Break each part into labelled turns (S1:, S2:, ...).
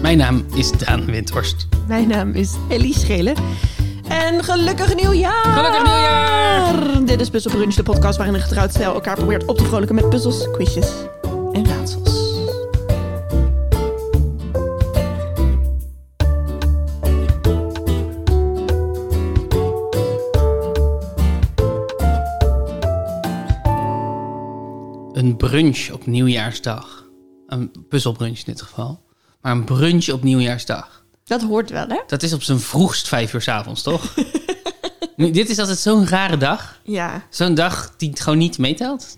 S1: Mijn naam is Daan Windhorst.
S2: Mijn naam is Ellie Schelen. En gelukkig nieuwjaar!
S1: Gelukkig nieuwjaar!
S2: Dit is Puzzle Brunch, de podcast waarin een getrouwd stijl elkaar probeert op te vrolijken met puzzels, quizjes en raadsels.
S1: Een brunch op nieuwjaarsdag. Een puzzelbrunch in dit geval. Maar een brunch op nieuwjaarsdag.
S2: Dat hoort wel, hè?
S1: Dat is op zijn vroegst vijf uur 's avonds, toch? nu, dit is altijd zo'n rare dag.
S2: Ja.
S1: Zo'n dag die het gewoon niet meetelt.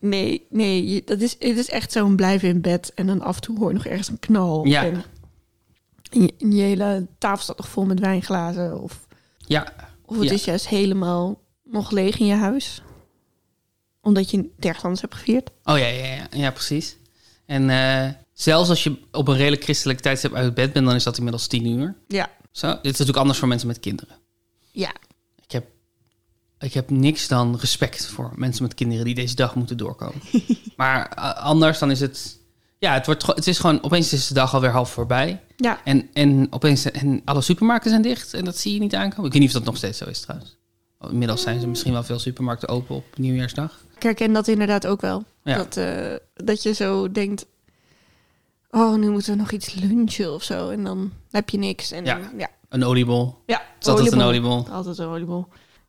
S2: Nee, nee, je- dat is, het is echt zo'n blijven in bed en dan af en toe hoor je nog ergens een knal.
S1: Ja.
S2: En je, en je hele tafel staat nog vol met wijnglazen. Of,
S1: Ja.
S2: of het
S1: Ja.
S2: is juist helemaal nog leeg in je huis. Omdat je ergens anders hebt gevierd.
S1: Oh ja, ja, ja, ja precies. En eh, zelfs als je op een redelijk christelijk tijdstip uit bed bent, dan is dat inmiddels tien uur.
S2: Ja.
S1: Zo, dit is natuurlijk anders voor mensen met kinderen.
S2: Ja.
S1: Ik heb, ik heb niks dan respect voor mensen met kinderen die deze dag moeten doorkomen. maar eh, anders dan is het. Ja, het, wordt, gewoon- het is gewoon. Opeens is de dag alweer half voorbij.
S2: Ja.
S1: En, en opeens en alle supermarkten zijn dicht. En dat zie je niet aankomen. Ik weet niet of dat nog steeds zo is trouwens. Oh, Inmiddels zijn ze misschien wel veel supermarkten open op nieuwjaarsdag.
S2: Ik herken dat inderdaad ook wel.
S1: Ja.
S2: Dat, eh, dat je zo denkt... Oh, nu moeten we nog iets lunchen of zo. En dan heb je niks. En
S1: Ja.
S2: ja. ja.
S1: Een oliebol.
S2: ja.
S1: Is altijd een
S2: oliebol.
S1: oliebol?
S2: Altijd een oliebol.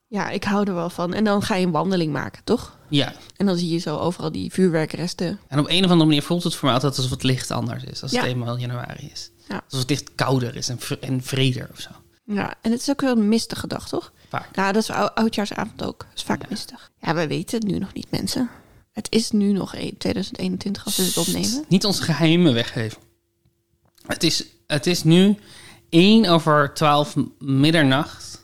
S2: Ja, ik hou er wel van. En dan ga je een wandeling maken, toch?
S1: Ja.
S2: En dan zie je zo overal die vuurwerkresten.
S1: En op een of andere manier voelt het voor mij altijd alsof het licht anders is. Als
S2: Ja.
S1: het eenmaal januari is.
S2: Ja.
S1: Alsof het licht kouder is en, vr- en vreder of zo.
S2: Ja, en het is ook wel een mistige dag, toch?
S1: Vaak.
S2: Ja, dat is ou- oudjaarsavond ook. Dat is vaak mistig. Ja, we weten het nu nog niet, mensen. Het is nu nog e- 2021 als we dit opnemen.
S1: Niet onze geheimen weggeven. Het is, het is nu 1 over 12 m- middernacht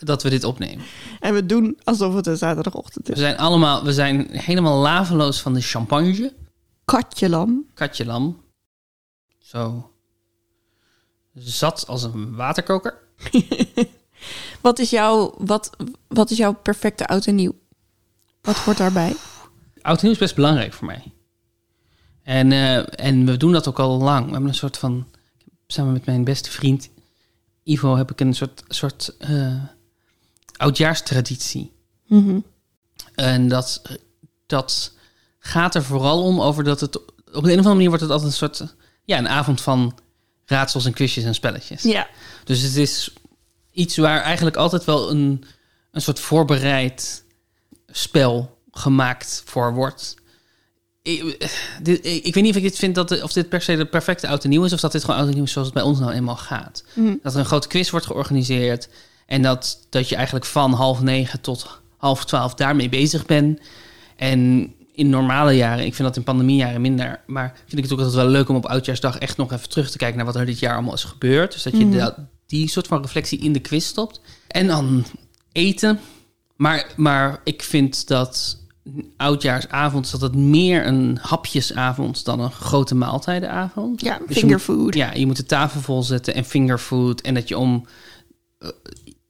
S1: dat we dit opnemen.
S2: En we doen alsof het een zaterdagochtend
S1: We
S2: is.
S1: zijn allemaal, we zijn helemaal laveloos van de champagne.
S2: Katje lam.
S1: Katje Lam. Zo. Zat als een waterkoker.
S2: Wat is jouw, wat, wat is jouw perfecte oud en nieuw? Wat hoort daarbij?
S1: Oud nieuws is best belangrijk voor mij. En, eh, en we doen dat ook al lang. We hebben een soort van. Samen met mijn beste vriend Ivo heb ik een soort, soort eh, oudjaarstraditie.
S2: Mhm.
S1: En dat, dat gaat er vooral om over dat het. Op de een of andere manier wordt het altijd een soort. Ja, een avond van raadsels en quizjes en spelletjes.
S2: Ja.
S1: Dus het is iets waar eigenlijk altijd wel een, een soort voorbereid spel gemaakt voor wordt. Ik, dit- ik, ik weet niet of ik dit vind dat de- of dit per se de perfecte oud en nieuw is, of dat dit gewoon oud en nieuw is zoals het bij ons nou eenmaal gaat. Dat er een grote quiz wordt georganiseerd en dat, dat je eigenlijk van half negen tot half twaalf daarmee bezig bent. En in normale jaren, ik vind dat in pandemiejaren minder, maar vind ik het ook altijd wel leuk om op oudjaarsdag echt nog even terug te kijken naar wat er dit jaar allemaal is gebeurd. Dus dat je dat- die soort van reflectie in de quiz stopt. En dan eten. Maar, maar ik vind dat oudjaarsavond dat het meer een hapjesavond dan een grote maaltijdenavond. Dus
S2: Ja,
S1: je
S2: fingerfood.
S1: Ja, je moet de tafel volzetten en fingerfood. En dat je om. eh,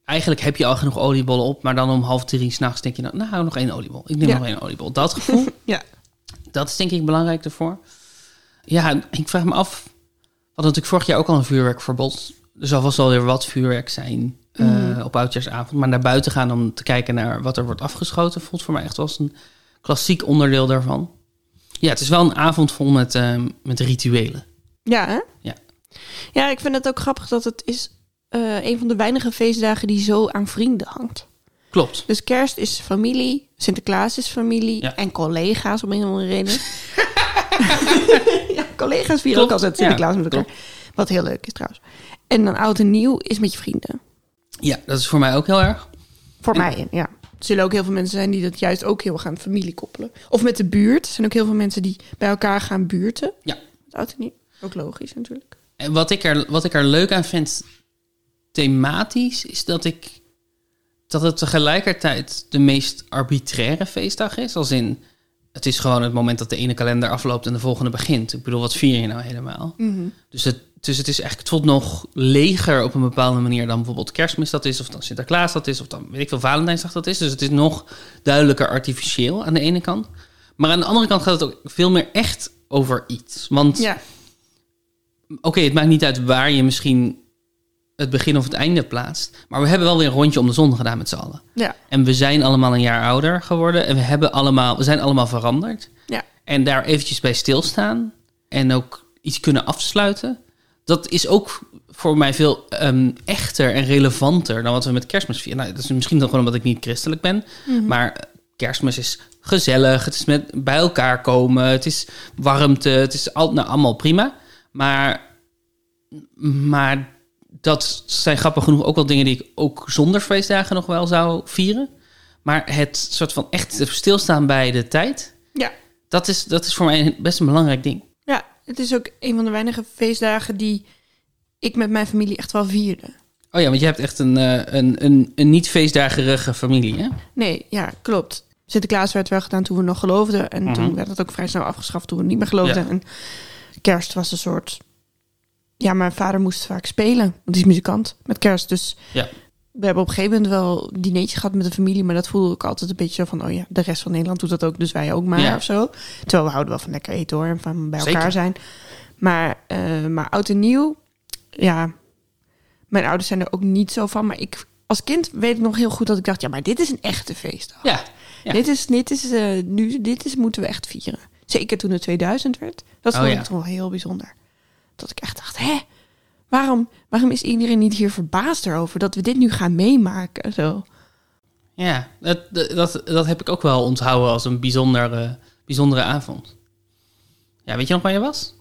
S1: eigenlijk heb je al genoeg oliebollen op, maar dan om half drie s'nachts denk je dan, nou, nog één oliebol. Ik neem
S2: Ja.
S1: nog één oliebol. Dat gevoel,
S2: Ja.
S1: dat is denk ik belangrijk ervoor. Ja, ik vraag me af. We hadden natuurlijk vorig jaar ook al een vuurwerkverbod. Dus Er zal vast wel weer wat vuurwerk zijn eh, op oudjaarsavond. Maar naar buiten gaan om te kijken naar wat er wordt afgeschoten, voelt voor mij echt wel als een klassiek onderdeel daarvan. Ja, het is wel een avond vol met, eh, met rituelen.
S2: Ja, hè?
S1: Ja.
S2: Ja, ik vind het ook grappig dat het is eh, een van de weinige feestdagen die zo aan vrienden hangt.
S1: Klopt.
S2: Dus kerst is familie, Sinterklaas is familie
S1: Ja.
S2: en collega's om een of andere reden. ja, collega's vieren
S1: Klopt,
S2: ook altijd
S1: ja,
S2: Sinterklaas met elkaar. Wat heel leuk is trouwens. En dan oud en nieuw is met je vrienden.
S1: Ja, dat is voor mij ook heel erg.
S2: Voor mij, ja. Er zullen ook heel veel mensen zijn die dat juist ook heel erg aan familie koppelen. Of met de buurt. Er zijn ook heel veel mensen die bij elkaar gaan buurten.
S1: Ja.
S2: Met oud en nieuw. Ook logisch natuurlijk.
S1: En wat ik er, wat ik er leuk aan vind, thematisch, is dat ik dat het tegelijkertijd de meest arbitraire feestdag is. Als in, het is gewoon het moment dat de ene kalender afloopt en de volgende begint. Ik bedoel, wat vier je nou helemaal? Dus, het, dus het is eigenlijk tot nog leger op een bepaalde manier dan bijvoorbeeld kerstmis dat is, of dan Sinterklaas dat is, of dan weet ik veel, Valentijnsdag dat is. Dus het is nog duidelijker artificieel aan de ene kant. Maar aan de andere kant gaat het ook veel meer echt over iets. Want
S2: Ja.
S1: Oké, het maakt niet uit waar je misschien het begin of het einde plaatst. Maar we hebben wel weer een rondje om de zon gedaan met z'n allen.
S2: Ja,
S1: En we zijn allemaal een jaar ouder geworden. En we, hebben allemaal, we zijn allemaal veranderd.
S2: ja.
S1: En daar eventjes bij stilstaan. En ook iets kunnen afsluiten. Dat is ook voor mij veel ehm, echter en relevanter dan wat we met kerstmis vieren. Nou, dat is misschien dan gewoon omdat ik niet christelijk ben. Maar eh, kerstmis is gezellig. Het is met bij elkaar komen. Het is warmte. Het is al, nou, allemaal prima. Maar, maar dat zijn grappig genoeg ook wel dingen die ik ook zonder feestdagen nog wel zou vieren. Maar het soort van echt stilstaan bij de tijd.
S2: ja.
S1: Dat is, dat is voor mij een- best een belangrijk ding.
S2: Ja, het is ook een van de weinige feestdagen die ik met mijn familie echt wel vierde.
S1: Oh ja, want je hebt echt een, eh, een, een, een niet feestdagerige familie, hè?
S2: Nee, ja, klopt. Sinterklaas werd wel gedaan toen we nog geloofden. En toen werd het ook vrij snel afgeschaft toen we niet meer geloofden.
S1: Ja.
S2: En kerst was een soort... Ja, mijn vader moest vaak spelen. Want die is muzikant met kerst. Dus
S1: Ja.
S2: we hebben op een gegeven moment wel een dinertje gehad met de familie. Maar dat voelde ik altijd een beetje zo van... Oh ja, de rest van Nederland doet dat ook. Dus wij ook maar
S1: Ja.
S2: of zo. Terwijl we houden wel van lekker eten hoor. En van bij elkaar
S1: Zeker.
S2: zijn. Maar, eh, maar oud en nieuw... Ja, mijn ouders zijn er ook niet zo van. Maar ik, als kind weet ik nog heel goed dat ik dacht... Ja, maar dit is een echte feestdag.
S1: Ja. ja.
S2: Dit is, dit is, eh, nu, dit is, moeten we echt vieren. Zeker toen het 2000 werd. Dat
S1: Oh,
S2: vond
S1: ja.
S2: ik toch wel heel bijzonder. Dat ik echt dacht, hè, waarom, waarom is iedereen niet hier verbaasd erover dat we dit nu gaan meemaken? Zo.
S1: Ja, dat, dat, dat heb ik ook wel onthouden als een bijzondere, bijzondere avond. Ja, weet je nog waar je was?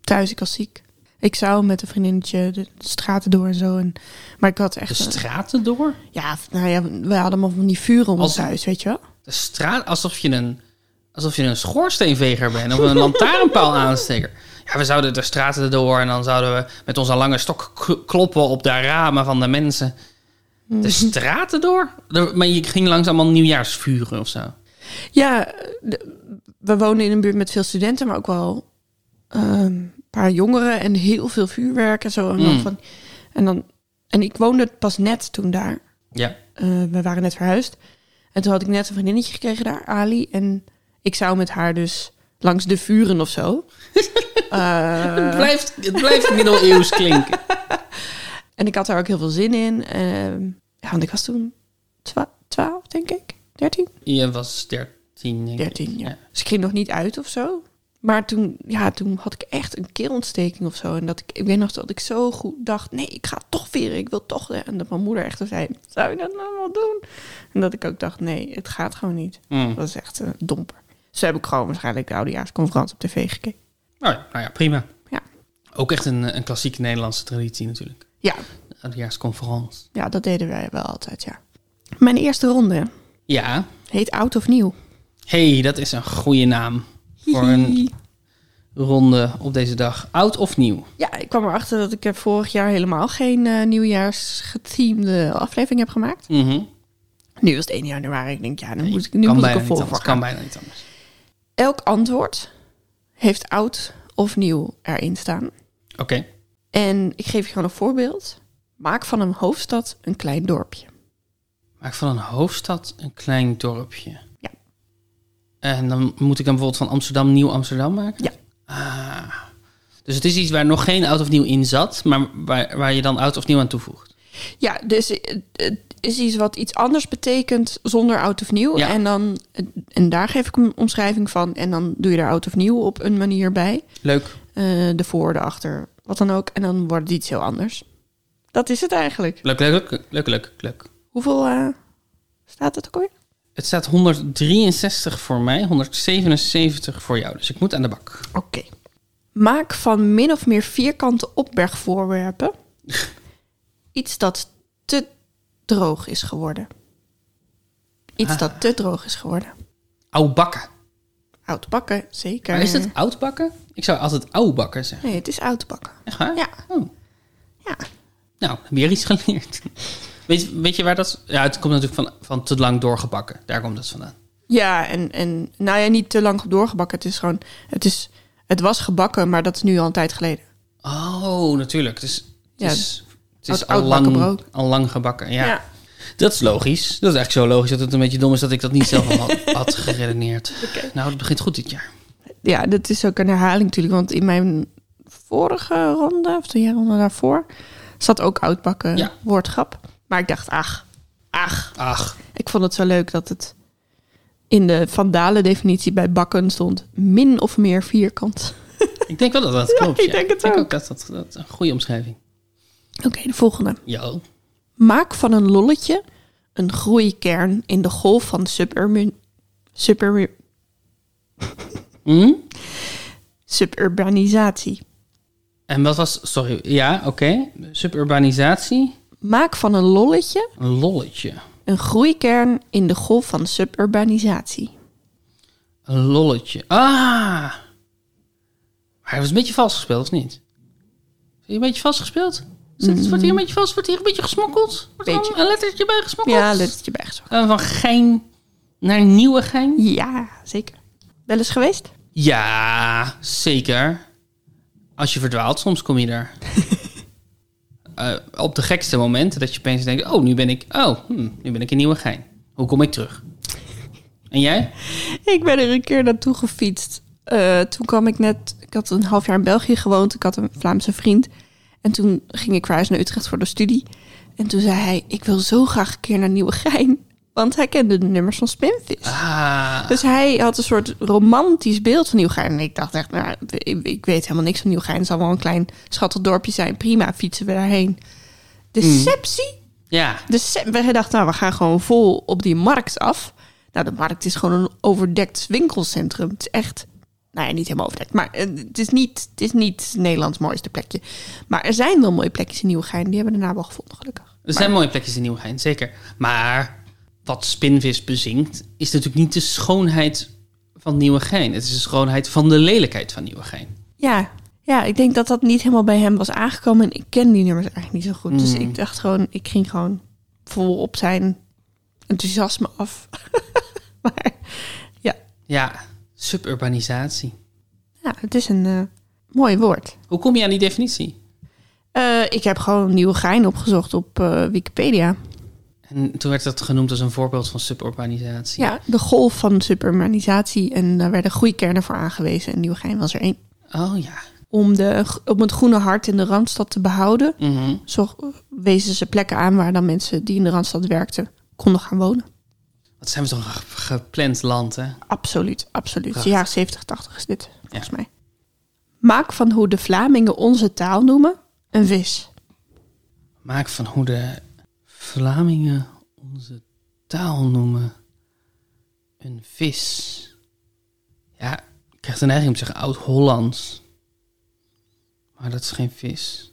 S2: Thuis, ik was ziek. Ik zou met een vriendinnetje de straten door en zo. En, maar ik had
S1: De
S2: echt... een-
S1: straten door?
S2: ja, nou ja, we hadden allemaal van die vuren om ons
S1: Als-
S2: huis, weet je wel?
S1: De straat, alsof je een, alsof je een schoorsteenveger bent of een lantaarnpaal aansteker. Ja, we zouden de straten door en dan zouden we met onze lange stok k- kloppen op de ramen van de mensen.
S2: Mhm.
S1: De straten door? Er- Maar je ging langs allemaal nieuwjaarsvuren of zo.
S2: Ja, de- we wonen in een buurt met veel studenten, maar ook wel ehm, een paar jongeren en heel veel vuurwerk en zo. En, dan
S1: Mm.
S2: van, en, dan, en ik woonde pas net toen daar.
S1: Ja.
S2: Eh, we waren net verhuisd. En toen had ik net een vriendinnetje gekregen daar, Ali. En ik zou met haar dus langs de vuren of zo. Eh,
S1: Het blijft, het blijft middeleeuws klinken.
S2: en ik had daar ook heel veel zin in. Ehm, ja, want ik was toen twa- 12, denk ik. 13?
S1: Je was 13. denk ik.
S2: 13, ja. Dus ik ging nog niet uit of zo. Maar toen, ja, toen had ik echt een keelontsteking of zo. En dat ik, ik weet nog dat ik zo goed dacht... nee, ik ga toch vieren, ik wil toch... En dat mijn moeder echt zo zei, zou je dat nou wel doen? En dat ik ook dacht, nee, het gaat gewoon niet.
S1: Mm.
S2: Dat is echt een domper. Dus heb ik gewoon waarschijnlijk de oudejaarsconferentie op tv gekeken.
S1: Nou ja, nou ja, prima.
S2: Ja.
S1: Ook echt een, eh, een klassieke Nederlandse traditie natuurlijk.
S2: Ja,
S1: De Oudejaarsconferentie.
S2: ja, dat deden wij wel altijd, ja. Mijn eerste ronde
S1: Ja.
S2: heet Oud of Nieuw.
S1: hey, dat is een goede naam voor een ronde op deze dag. Oud of nieuw?
S2: Ja, ik kwam erachter dat ik eh, vorig jaar helemaal geen eh nieuwjaarsgeteamde aflevering heb gemaakt.
S1: Mhm.
S2: Nu was het 1 januari. Ik denk, ja, dan moet ik,
S1: Kan
S2: nu moet ik
S1: bijna
S2: er
S1: niet
S2: vol
S1: anders,
S2: voor
S1: Kan
S2: gaan.
S1: bijna niet anders.
S2: Elk antwoord heeft oud of nieuw erin staan.
S1: Oké.
S2: En ik geef je gewoon een voorbeeld. Maak van een hoofdstad een klein dorpje.
S1: Maak van een hoofdstad een klein dorpje.
S2: Ja.
S1: En dan moet ik hem bijvoorbeeld van Amsterdam nieuw Amsterdam maken?
S2: Ja.
S1: Ah. Dus het is iets waar nog geen oud of nieuw in zat, maar waar, waar je dan oud of nieuw aan toevoegt.
S2: Ja, dus eh, het is iets wat iets anders betekent zonder oud of nieuw.
S1: Ja.
S2: En, dan, eh, en daar geef ik een omschrijving van. En dan doe je daar oud of nieuw op een manier bij.
S1: Leuk.
S2: Eh, de voor, de achter, wat dan ook. En dan wordt het iets heel anders. Dat is het eigenlijk.
S1: Leuk, leuk, leuk, leuk, leuk, leuk.
S2: Hoeveel eh, staat het ook alweer?
S1: Het staat 163 voor mij, 177 voor jou. Dus ik moet aan de bak.
S2: Oké. Maak van min of meer vierkante opbergvoorwerpen iets dat te droog is geworden. Iets dat te droog is geworden.
S1: Oud bakken.
S2: Oud bakken, zeker.
S1: Maar is het oud bakken? Ik zou altijd oud bakken zeggen.
S2: Nee, het is oud bakken.
S1: Echt waar?
S2: Ja.
S1: Oh.
S2: Ja.
S1: Nou, weer iets geleerd. Weet, je- weet je waar dat... Ja, het komt natuurlijk van, van te lang doorgebakken. Daar komt het vandaan.
S2: Ja, en, en nou ja, niet te lang doorgebakken. Het is gewoon, het, is, het was gebakken, maar dat is nu al een tijd geleden.
S1: Oh, natuurlijk. Het is, het
S2: Ja,
S1: is, het
S2: oud-
S1: is
S2: oud
S1: al, lang,
S2: bakkenbrood.
S1: al lang gebakken. Ja. dat is logisch. Dat is eigenlijk zo logisch dat het een beetje dom is dat ik dat niet zelf al had, had geredeneerd. Nou, het begint goed dit jaar.
S2: ja, dat is ook een herhaling natuurlijk. Want in mijn vorige ronde, of de ronde daarvoor, zat ook oudbakken
S1: Ja.
S2: woordgrap. Maar ik dacht, ach, ach.
S1: Ach,
S2: Ik vond het zo leuk dat het in de vandalen definitie bij bakken stond min of meer vierkant.
S1: ik denk wel dat dat klopt.
S2: ik
S1: ja.
S2: denk het
S1: ik denk
S2: ook.
S1: ook dat dat, dat een goede omschrijving.
S2: Oké, de volgende.
S1: Jo.
S2: Maak van een lolletje een groeikern in de golf van suburban, suburban,
S1: Hm?
S2: suburbanisatie.
S1: En wat was, sorry, ja, oké. Suburbanisatie,
S2: Maak van een lolletje
S1: een lolletje.
S2: een groeikern in de golf van suburbanisatie.
S1: Een lolletje. Ah! Maar hij was een beetje vastgespeeld, of niet? Is hij een beetje vastgespeeld? Zit, Wordt hier een beetje vast? Wordt hier een beetje gesmokkeld? Wordt er
S2: Mm. Beetje.
S1: een lettertje bij gesmokkeld?
S2: Ja, lettertje bijgezocht.
S1: Eh, van gein naar nieuwe gein?
S2: Ja, zeker. Wel eens geweest?
S1: Ja, zeker. Als je verdwaalt, soms kom je daar. Eh, op de gekste momenten dat je opeens denkt... Oh, nu ben ik, oh, hm, nu ben ik in nieuwe gein. Hoe kom ik terug? En jij?
S2: Ik ben er een keer naartoe gefietst. Eh, toen kwam ik net, ik had een half jaar in België gewoond. Ik had een Vlaamse vriend. En toen ging ik verhuizen naar Utrecht voor de studie. En toen zei hij, ik wil zo graag een keer naar Nieuwegein. Want hij kende de nummers van Spinvis.
S1: Ah,
S2: Dus hij had een soort romantisch beeld van Nieuwegein. En ik dacht echt, nou, ik, ik weet helemaal niks van Nieuwegein. Het zal wel een klein schattig dorpje zijn. Prima, fietsen we daarheen. Mm. Deceptie?
S1: ja.
S2: Dus we dachten, nou, we gaan gewoon vol op die markt af. Nou, de markt is gewoon een overdekt winkelcentrum. Het is echt, nou ja, niet helemaal overdekt. Maar eh, het is niet, het is niet Nederlands mooiste plekje. Maar er zijn wel mooie plekjes in Nieuwegein. Die hebben we daarna wel gevonden, gelukkig.
S1: Er zijn mooie plekjes in Nieuwegein, zeker. Maar wat Spinvis bezinkt, is natuurlijk niet de schoonheid van Nieuwegein. Het is de schoonheid van de lelijkheid van Nieuwegein.
S2: Ja, ja, ik denk dat dat niet helemaal bij hem was aangekomen. En ik ken die nummers eigenlijk niet zo goed. Dus ik dacht gewoon, ik ging gewoon vol op zijn enthousiasme af. maar ja,
S1: Ja, suburbanisatie.
S2: ja, het is een eh, mooi woord.
S1: Hoe kom je aan die definitie?
S2: Eh, ik heb gewoon nieuwe gein opgezocht op eh, Wikipedia.
S1: En toen werd dat genoemd als een voorbeeld van suburbanisatie.
S2: Ja, de golf van supermanisatie en daar werden groeikernen voor aangewezen. En nieuwe gein was er één.
S1: Oh ja.
S2: Om, de, om het groene hart in de Randstad te behouden,
S1: Mhm.
S2: zo wezen ze plekken aan waar dan mensen die in de Randstad werkten konden gaan wonen.
S1: Wat zijn we toch een ge- gepland land, hè?
S2: Absoluut, absoluut.
S1: Prachtig.
S2: De jaren 70, 80 is dit, volgens mij. Maak van hoe de Vlamingen onze taal noemen een vis.
S1: Maak van hoe de Vlamingen onze taal noemen een vis. Ja, ik krijg de neiging om te zeggen oud-Hollands. Maar dat is geen vis.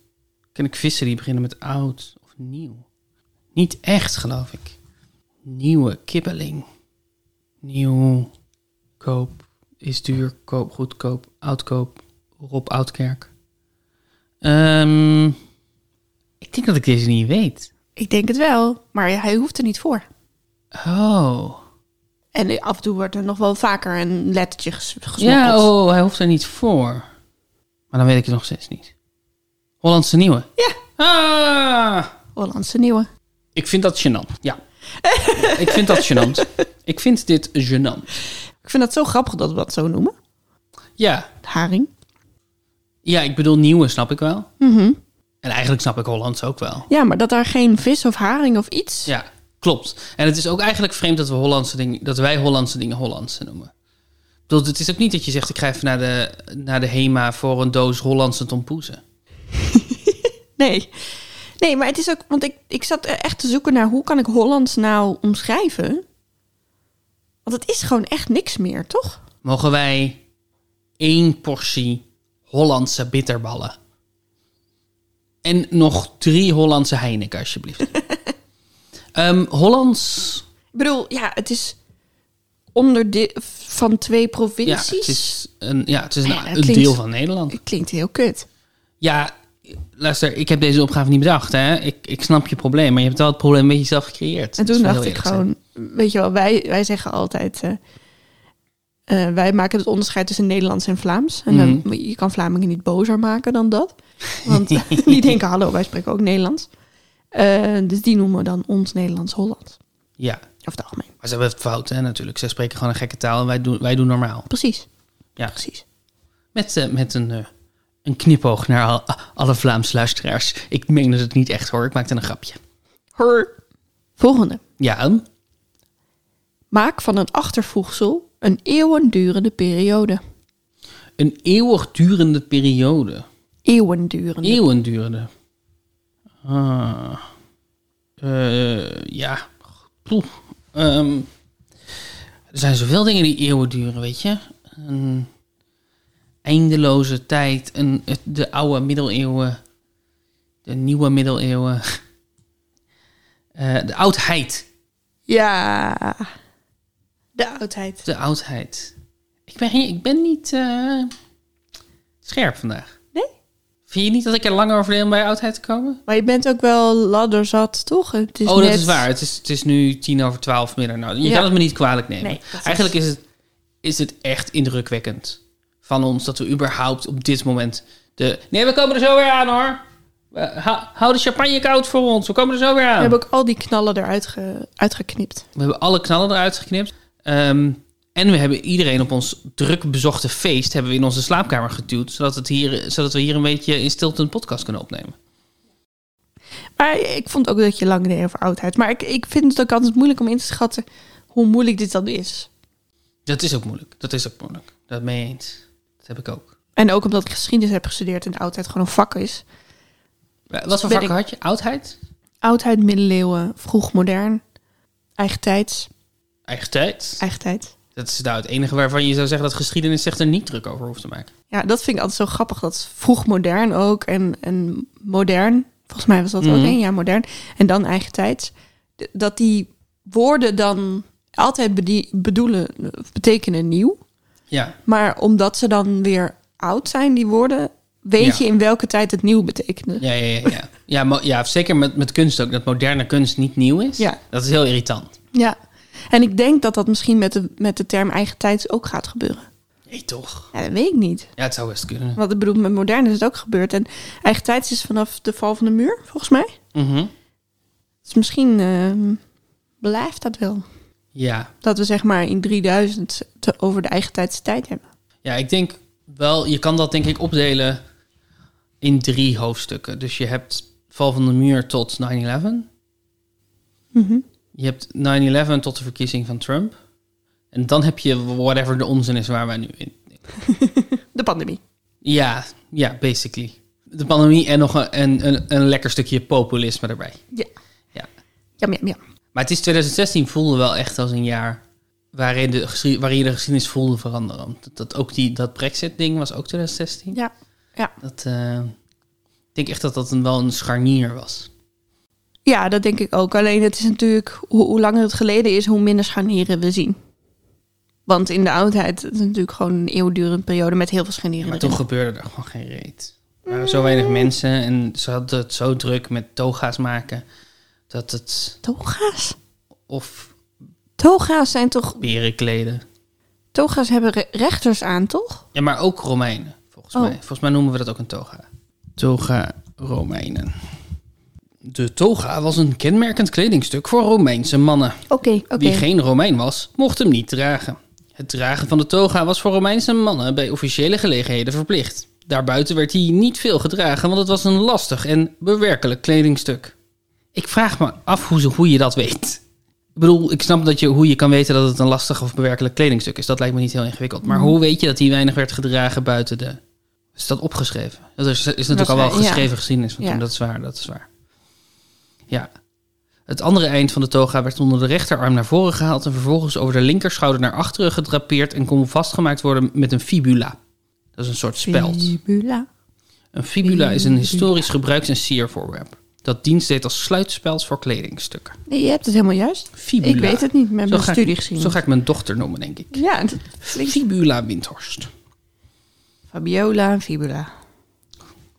S1: Ken ik vissen die beginnen met oud of nieuw? Niet echt, geloof ik. Nieuwe kibbeling. Nieuw. Koop. Is duur. Koop. Goedkoop. Oudkoop. Rob Oudkerk. Ehm... Ik denk dat ik deze niet weet.
S2: Ik denk het wel, maar hij hoeft er niet voor.
S1: Oh.
S2: En af en toe wordt er nog wel vaker een lettertje ges- gesmokkeld.
S1: Ja, oh, hij hoeft er niet voor. Maar dan weet ik het nog steeds niet. Hollandse Nieuwe.
S2: Ja.
S1: Ah!
S2: Hollandse nieuwe.
S1: Ik vind dat gênant, ja. ik vind dat gênant. Ik vind dit gênant.
S2: Ik vind dat zo grappig dat we dat zo noemen.
S1: Ja.
S2: Haring.
S1: Ja, ik bedoel Nieuwe snap ik wel. En eigenlijk snap ik Hollands ook wel.
S2: Ja, maar dat daar geen vis of haring of iets.
S1: Ja, klopt. En het is ook eigenlijk vreemd dat, we Hollandse dingen, dat wij Hollandse dingen Hollandse noemen. Ik bedoel, het is ook niet dat je zegt, ik ga even naar de, naar de HEMA voor een doos Hollandse tompoezen.
S2: Nee. Nee, maar het is ook. Want ik, ik zat echt te zoeken naar hoe kan ik Hollands nou omschrijven? Want het is gewoon echt niks meer, toch?
S1: Mogen wij één portie Hollandse bitterballen? En nog drie Hollandse Heineken, alsjeblieft. Ehm, Hollands...
S2: Ik bedoel, ja, het is onderdeel van twee
S1: Ja,
S2: provincies.
S1: het is een, ja, het is een,
S2: Ah Ja, dat
S1: een
S2: klinkt-
S1: deel van Nederland.
S2: Het klinkt heel kut.
S1: Ja, luister, ik heb deze opgave niet bedacht. Hè? Ik, ik snap je probleem, maar je hebt wel het probleem een beetje zelf gecreëerd.
S2: En
S1: Dat
S2: toen
S1: is wel
S2: dacht
S1: heel
S2: ik
S1: eerlijk
S2: gewoon, weet je wel, wij, wij zeggen altijd, eh, eh, wij maken het onderscheid tussen Nederlands en Vlaams. En
S1: Mhm.
S2: dan, je kan Vlamingen niet bozer maken dan dat. Want die denken, hallo, wij spreken ook Nederlands. Eh, dus die noemen we dan ons Nederlands-Holland.
S1: zijn. Ja,
S2: Of het algemeen.
S1: maar ze hebben het fout, hè, natuurlijk. Ze spreken gewoon een gekke taal en wij doen, wij doen normaal.
S2: Precies,
S1: Ja,
S2: precies.
S1: met, eh, met een, eh, Een knipoog naar al- alle Vlaams luisteraars. Ik meende het niet echt hoor, ik maakte een grapje.
S2: Her. Volgende.
S1: Ja,
S2: Maak van een achtervoegsel een eeuwendurende periode.
S1: een eeuwigdurende periode.
S2: Eeuwendurende.
S1: Eeuwendurende. Ah. Eh, ja. Poeh. Ehm, er zijn zoveel dingen die eeuwen duren, weet je. Een eindeloze tijd. Een, het- de oude middeleeuwen. De nieuwe middeleeuwen. Eh, de oudheid.
S2: ja. De oudheid.
S1: De oudheid. Ik ben, geen- ik ben niet eh, scherp vandaag.
S2: Nee?
S1: Vind je niet dat ik er langer over deed om bij oudheid te komen?
S2: Maar je bent ook wel ladderzat, toch? Het is
S1: oh, dat
S2: net-
S1: is waar. Het is, het is nu tien over twaalf middernacht. Je
S2: Ja.
S1: kan het me niet kwalijk nemen.
S2: Nee, dat is-
S1: Eigenlijk is het, is het echt indrukwekkend van ons dat we überhaupt op dit moment de... Nee, we komen er zo weer aan hoor. We- hou- hou de champagne koud voor ons. We komen er zo weer aan.
S2: We hebben ook al die knallen eruit ge- uitgeknipt.
S1: We hebben alle knallen eruit geknipt. Ehm, en we hebben iedereen op ons druk bezochte feest hebben we in onze slaapkamer geduwd. Zodat, het hier, zodat we hier een beetje in stilte een podcast kunnen opnemen.
S2: Maar ik vond ook dat je lang deed over oudheid. Maar ik, ik vind het ook altijd moeilijk om in te schatten hoe moeilijk dit dan is.
S1: Dat is ook moeilijk. Dat is ook moeilijk. Dat mee eens. Dat heb ik ook.
S2: En ook omdat ik geschiedenis heb gestudeerd en de oudheid gewoon een vak is.
S1: Eh, Wat voor
S2: Ben
S1: vakken had je? Oudheid?
S2: Oudheid, middeleeuwen, vroeg modern, eigentijds,
S1: Eigen tijd.
S2: eigentijd.
S1: Dat is nou het enige waarvan je zou zeggen dat geschiedenis zich er niet druk over hoeft te maken.
S2: Ja, dat vind ik altijd zo grappig. Dat is vroeg modern ook en, en modern. Volgens mij was dat ook
S1: Mhm.
S2: één jaar modern. En dan eigentijds. D- Dat die woorden dan altijd bedie- bedoelen, of betekenen nieuw.
S1: Ja,
S2: Maar omdat ze dan weer oud zijn, die woorden, weet
S1: Ja.
S2: je in welke tijd het nieuw betekende.
S1: ja, ja, ja. Ja, ja, mo- ja zeker met, met kunst ook. Dat moderne kunst niet nieuw is.
S2: Ja.
S1: Dat is heel irritant.
S2: Ja. En ik denk dat dat misschien met de, met de term eigentijds ook gaat gebeuren.
S1: Nee, toch?
S2: Ja, dat weet ik niet.
S1: Ja, het zou best kunnen.
S2: Want ik bedoel, met modern is het ook gebeurd. En eigentijds is vanaf de val van de muur, volgens mij.
S1: Mhm.
S2: Dus misschien ehm, blijft dat wel.
S1: Ja.
S2: Dat we zeg maar in 3000 te over de eigen tijdse tijd hebben.
S1: ja, ik denk wel, je kan dat denk ik opdelen in drie hoofdstukken. Dus je hebt val van de muur tot 9-11. Je hebt 9-11 tot de verkiezing van Trump. En dan heb je whatever de onzin is waar wij nu in,
S2: De pandemie.
S1: Ja, ja, basically. De pandemie en nog een, een, een, een lekker stukje populisme erbij.
S2: Ja.
S1: Ja.
S2: Jam, jam, jam.
S1: Maar het is 2016 voelde wel echt als een jaar waarin, de, geschie- waarin je de geschiedenis voelde veranderen. Want Dat, dat ook die, dat Brexit-ding was ook 2016.
S2: Ja.
S1: Dat, eh, ik denk echt dat dat een, wel een scharnier was.
S2: ja, dat denk ik ook. Alleen het is natuurlijk, hoe, hoe langer het geleden is, hoe minder scharnieren we zien. Want in de oudheid het is natuurlijk gewoon een eeuwdurende periode met heel veel scharnieren.
S1: maar
S2: erin.
S1: toen gebeurde er gewoon geen reet. Er waren zo weinig mensen en ze hadden het zo druk met toga's maken dat het.
S2: Toga's?
S1: of
S2: Toga's zijn toch...
S1: berenkleden.
S2: Toga's hebben re- rechters aan, toch?
S1: Ja, maar ook Romeinen, volgens
S2: Oh.
S1: mij. Volgens mij noemen we dat ook een toga. Toga Romeinen. De toga was een kenmerkend kledingstuk voor Romeinse mannen.
S2: Oké, oké.
S1: Wie geen Romein was, mocht hem niet dragen. Het dragen van de toga was voor Romeinse mannen bij officiële gelegenheden verplicht. Daarbuiten werd hij niet veel gedragen, want het was een lastig en bewerkelijk kledingstuk. Ik vraag me af hoe, ze, hoe je dat weet. Ik bedoel, ik snap dat je, hoe je kan weten dat het een lastig of bewerkelijk kledingstuk is. Dat lijkt me niet heel ingewikkeld. Maar
S2: Mhm.
S1: hoe weet je dat hij weinig werd gedragen buiten de... Is dat opgeschreven? Dat is, is natuurlijk
S2: Dat
S1: al
S2: is
S1: wel
S2: waar, ja.
S1: geschreven geschiedenis van
S2: Ja.
S1: toen. Dat is waar, dat is waar. Ja. Het andere eind van de toga werd onder de rechterarm naar voren gehaald... en vervolgens over de linkerschouder naar achteren gedrapeerd... en kon vastgemaakt worden met een fibula. Dat is een soort speld.
S2: Fibula.
S1: Een fibula is een historisch gebruiks- en siervoorwerp. Dat dienst deed als sluitspeld voor kledingstukken.
S2: Nee, je hebt het helemaal juist.
S1: Fibula.
S2: Ik weet het niet met mijn
S1: ga ik-
S2: studiegeschiedenis.
S1: Zo ga ik mijn dochter noemen, denk ik.
S2: Ja, dat klinkt
S1: Fibula Windhorst.
S2: Fabiola en Fibula.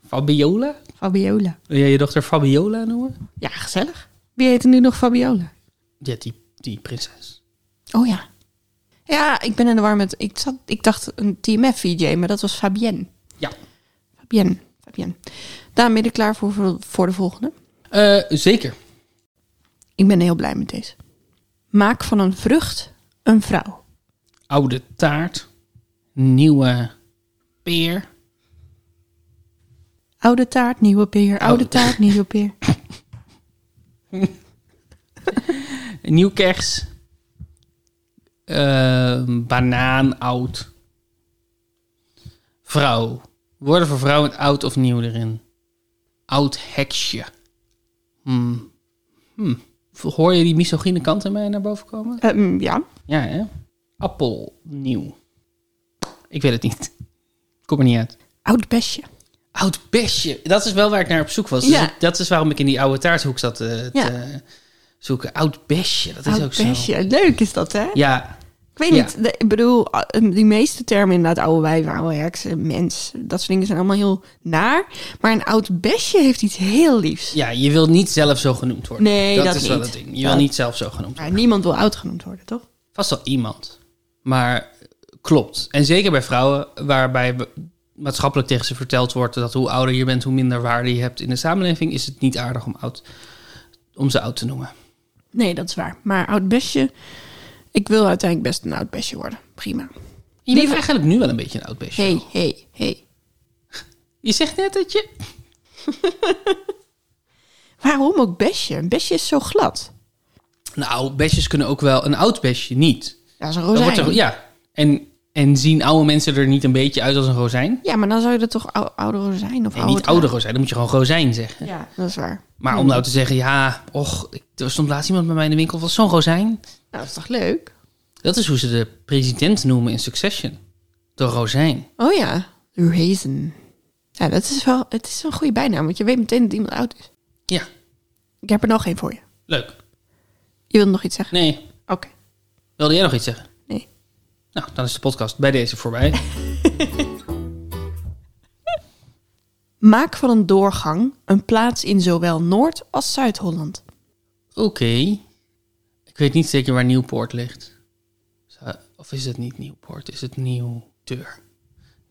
S1: Fabiola?
S2: Fabiola.
S1: Wil jij je dochter Fabiola noemen?
S2: Ja, gezellig. Wie heet er nu nog Fabiola?
S1: Ja, die, die prinses.
S2: Oh ja. Ja, ik ben in de war met... Ik, zat, ik dacht een TMF-VJ, maar dat was Fabienne.
S1: Ja.
S2: Fabienne. Fabienne. Daarom ben je er klaar voor- voor, voor de volgende.
S1: Eh, zeker.
S2: Ik ben heel blij met deze. Maak van een vrucht een vrouw.
S1: Oude taart. Nieuwe peer.
S2: Oude taart, nieuwe peer. Oude
S1: Oh.
S2: taart, nieuwe peer.
S1: Nieuw kers. Eh, banaan, oud. Vrouw. Woorden voor vrouw met oud of nieuw erin. Oud heksje. Hmm. Hmm. Hoor je die misogyne kant in mij naar boven komen?
S2: Ehm, ja.
S1: Ja, hè? Appel, nieuw. Ik weet het niet. Kom er niet uit.
S2: Oud besje.
S1: Oud besje. Dat is wel waar ik naar op zoek was. Dus
S2: Ja.
S1: ik- dat is waarom ik in die oude taarthoek zat eh, te
S2: Ja.
S1: zoeken. Oud besje, dat is
S2: Oud
S1: ook zo.
S2: besje. Leuk is dat, hè?
S1: Ja,
S2: Ik weet
S1: Ja.
S2: niet. de- ik bedoel, a- die meeste termen inderdaad, oude wijf, oude heks, eh, mens, dat soort dingen zijn allemaal heel naar. Maar een oud besje heeft iets heel liefs.
S1: ja, je wil niet zelf zo genoemd worden.
S2: Nee, dat
S1: is wel
S2: niet.
S1: het ding. Je
S2: Dat-
S1: wil niet zelf zo genoemd worden.
S2: Maar niemand wil oud genoemd worden, toch?
S1: Vast wel iemand. Maar eh, klopt. En zeker bij vrouwen, waarbij we- maatschappelijk tegen ze verteld wordt dat hoe ouder je bent, hoe minder waarde je hebt in de samenleving, is het niet aardig om, oud, om ze oud te noemen.
S2: Nee, dat is waar. Maar oud besje, ik wil uiteindelijk best een oud besje worden. Prima.
S1: Je bent eigenlijk nu wel een beetje een oud besje.
S2: Hey, hey, hey.
S1: Je zegt net dat je...
S2: Waarom ook besje? Een besje is zo glad.
S1: Nou, besjes kunnen ook wel... Een oud besje niet.
S2: Dat is een
S1: Dan
S2: rozijn.
S1: wordt er- ja. En, en zien oude mensen er niet een beetje uit als een rozijn?
S2: Ja, maar dan zou je er toch ou- oude rozijn of
S1: Nee,
S2: oude...
S1: niet oude rozijn. Dan moet je gewoon rozijn zeggen.
S2: Ja, dat is waar.
S1: Maar om nou te zeggen, ja, och, ik- er stond laatst iemand bij mij in de winkel van zo'n rozijn.
S2: Nou, dat is toch leuk?
S1: Dat is hoe ze de president noemen in Succession. De rozijn.
S2: Oh ja, Razen. Ja, dat is wel, het is wel een goede bijnaam, want je weet meteen dat iemand oud is.
S1: Ja,
S2: Ik heb er nog geen voor je.
S1: leuk.
S2: Je wilde nog iets zeggen?
S1: Nee,
S2: Oké.
S1: wilde jij nog iets zeggen?
S2: Nee.
S1: Nou, dan is de podcast bij deze voorbij.
S2: Maak van een doorgang een plaats in zowel Noord- als Zuid-Holland.
S1: Oké. Ik weet niet zeker waar Nieuwpoort ligt. Zou- Of is het niet Nieuwpoort? Is het nieuw deur?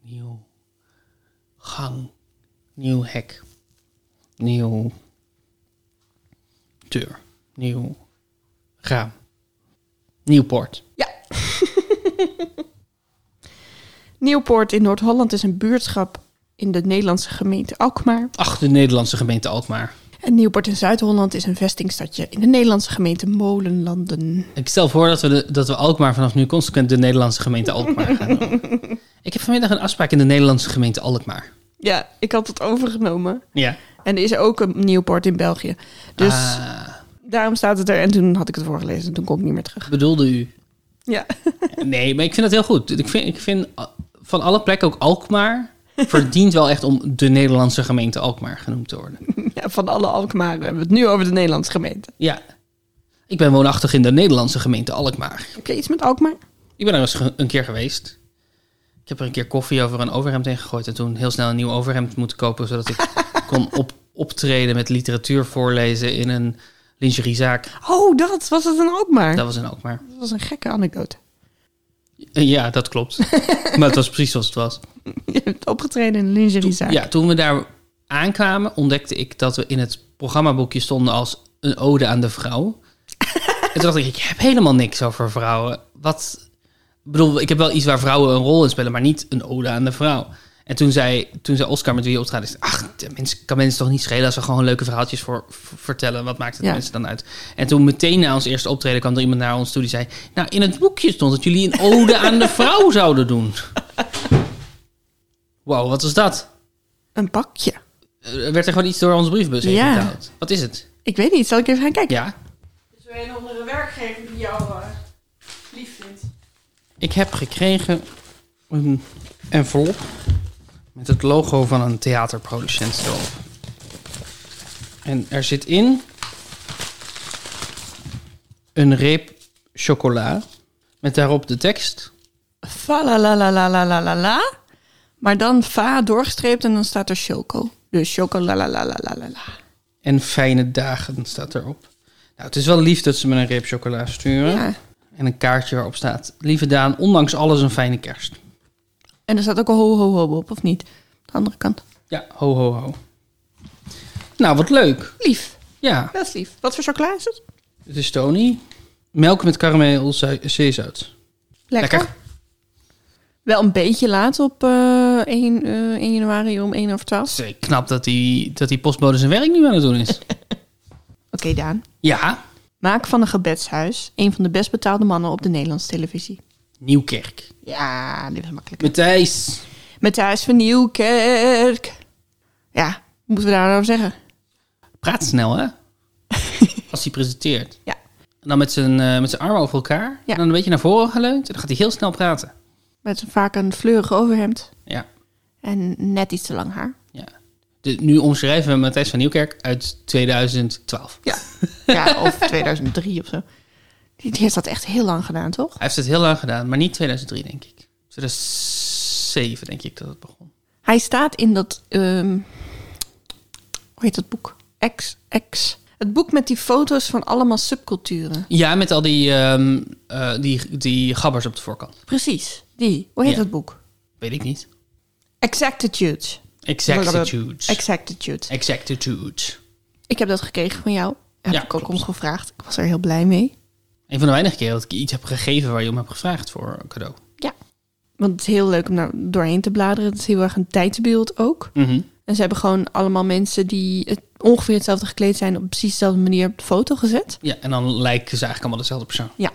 S1: Nieuw gang? Nieuw hek? Nieuw deur? Nieuw raam? Nieuwpoort.
S2: Ja. Nieuwpoort in Noord-Holland is een buurtschap in de Nederlandse gemeente Alkmaar.
S1: Ach, de Nederlandse gemeente Alkmaar.
S2: En Nieuwpoort in Zuid-Holland is een vestingstadje in de Nederlandse gemeente Molenlanden.
S1: Ik stel voor dat we, de- dat we Alkmaar vanaf nu consequent de Nederlandse gemeente Alkmaar gaan noemen. Ik heb vanmiddag een afspraak in de Nederlandse gemeente Alkmaar.
S2: Ja, ik had het overgenomen.
S1: Ja.
S2: En er is ook een Nieuwpoort in België. Dus...
S1: Ah,
S2: Daarom staat het er. En toen had ik het voorgelezen. Toen kom ik niet meer terug.
S1: bedoelde u
S2: Ja.
S1: Nee, maar ik vind dat heel goed. Ik vind, ik vind uh, van alle plekken ook Alkmaar verdient wel echt om de Nederlandse gemeente Alkmaar genoemd te worden.
S2: ja van alle Alkmaar hebben we het nu over de Nederlandse gemeente.
S1: Ja. Ik ben woonachtig in de Nederlandse gemeente Alkmaar.
S2: Heb je iets met Alkmaar?
S1: Ik ben er eens ge- een keer geweest. Ik heb er een keer koffie over een overhemd heen gegooid en toen heel snel een nieuw overhemd moeten kopen, zodat ik kon op, optreden met literatuur voorlezen in een lingeriezaak.
S2: Oh, dat was het een Alkmaar.
S1: Dat
S2: Dat
S1: was in Alkmaar.
S2: was een gekke anekdote.
S1: Ja, dat klopt. Maar het was precies zoals het was.
S2: Je hebt opgetreden in een lingeriezaak.
S1: Ja, toen we daar aankwamen, ontdekte ik dat we in het programmaboekje stonden als een ode aan de vrouw. en toen dacht ik, ik heb helemaal niks over vrouwen. Wat, ik bedoel, ik heb wel iets waar vrouwen een rol in spelen, maar niet een ode aan de vrouw. En toen zei, toen zei Oscar met wie je optrad, is, ach, de mens, kan mensen toch niet schelen als we gewoon leuke verhaaltjes voor, v- vertellen. Wat maakt het
S2: Ja.
S1: mensen dan uit? En toen meteen na ons eerste optreden kwam er iemand naar ons toe die zei, nou, in het boekje stond dat jullie een ode aan de vrouw zouden doen. Wow, wat was dat?
S2: Een pakje.
S1: Er Eh, werd er gewoon iets door onze briefbus heen
S2: Ja.
S1: gehaald. Wat is het?
S2: Ik weet niet. Zal ik even gaan kijken?
S1: Ja.
S2: Dus we een andere werkgever die jou eh, lief vindt.
S1: Ik heb gekregen een envelop met het logo van een theaterproducent erop. En er zit in een reep chocola met daarop de tekst.
S2: Fa la la la la la la la la. Maar dan fa doorgestreept en dan staat er choco. Dus choco la la la la la la la.
S1: En fijne dagen staat erop. Nou, het is wel lief dat ze me een reep chocola sturen.
S2: Ja.
S1: En een kaartje waarop staat... Lieve Daan, ondanks alles een fijne kerst.
S2: En er staat ook een ho ho ho op, of niet? De andere kant.
S1: Ja, ho ho ho. Nou, wat leuk.
S2: Lief.
S1: Ja,
S2: Dat is lief. Wat voor chocola is het?
S1: het is Tony. Melk met karamel, zu- zeezout.
S2: Lekker. Wel een beetje laat op eh, 1, eh, 1 januari om 1 over 12. Oké,
S1: Het is knap dat die, dat die postbode zijn werk nu aan het doen is.
S2: Daan.
S1: ja,
S2: Maak van een gebedshuis een van de best betaalde mannen op de Nederlandse televisie.
S1: Nieuwkerk.
S2: Ja, dit was makkelijk.
S1: Matthijs.
S2: Matthijs van Nieuwkerk. Ja, wat moeten we daarover zeggen?
S1: Praat snel, hè? Als hij presenteert.
S2: Ja.
S1: En dan met zijn, eh, met zijn armen over elkaar.
S2: Ja.
S1: En dan een beetje naar voren geleund. En dan gaat hij heel snel praten.
S2: Met vaak een fleurig overhemd
S1: Ja.
S2: en net iets te lang haar.
S1: ja. De, nu omschrijven we Matthijs van Nieuwkerk uit 2012.
S2: Ja, ja of 2003 of zo. Die die heeft dat echt heel lang gedaan, toch?
S1: Hij heeft het heel lang gedaan, maar niet 2003, denk ik. 2007, denk ik, dat het begon.
S2: Hij staat in dat, ehm, hoe heet dat boek? X, X. Het boek met die foto's van allemaal subculturen.
S1: Ja, met al die, ehm, eh, die, die gabbers op de voorkant.
S2: Precies, die. Hoe heet
S1: Ja.
S2: dat boek?
S1: Weet ik niet.
S2: Exactitude.
S1: Exactitude.
S2: Exactitude.
S1: Exactitude.
S2: Ik heb dat gekregen van jou. Heb
S1: Ja,
S2: ik ook
S1: klopt.
S2: om gevraagd. Ik was er heel blij mee.
S1: Een van de weinige keren dat ik iets heb gegeven waar je om hebt gevraagd voor een cadeau.
S2: Ja. Want het is heel leuk om daar doorheen te bladeren. Het is heel erg een tijdsbeeld ook.
S1: Mhm.
S2: En ze hebben gewoon allemaal mensen die het ongeveer hetzelfde gekleed zijn... op precies dezelfde manier op de foto gezet.
S1: Ja, en dan lijken ze eigenlijk allemaal dezelfde persoon.
S2: Ja.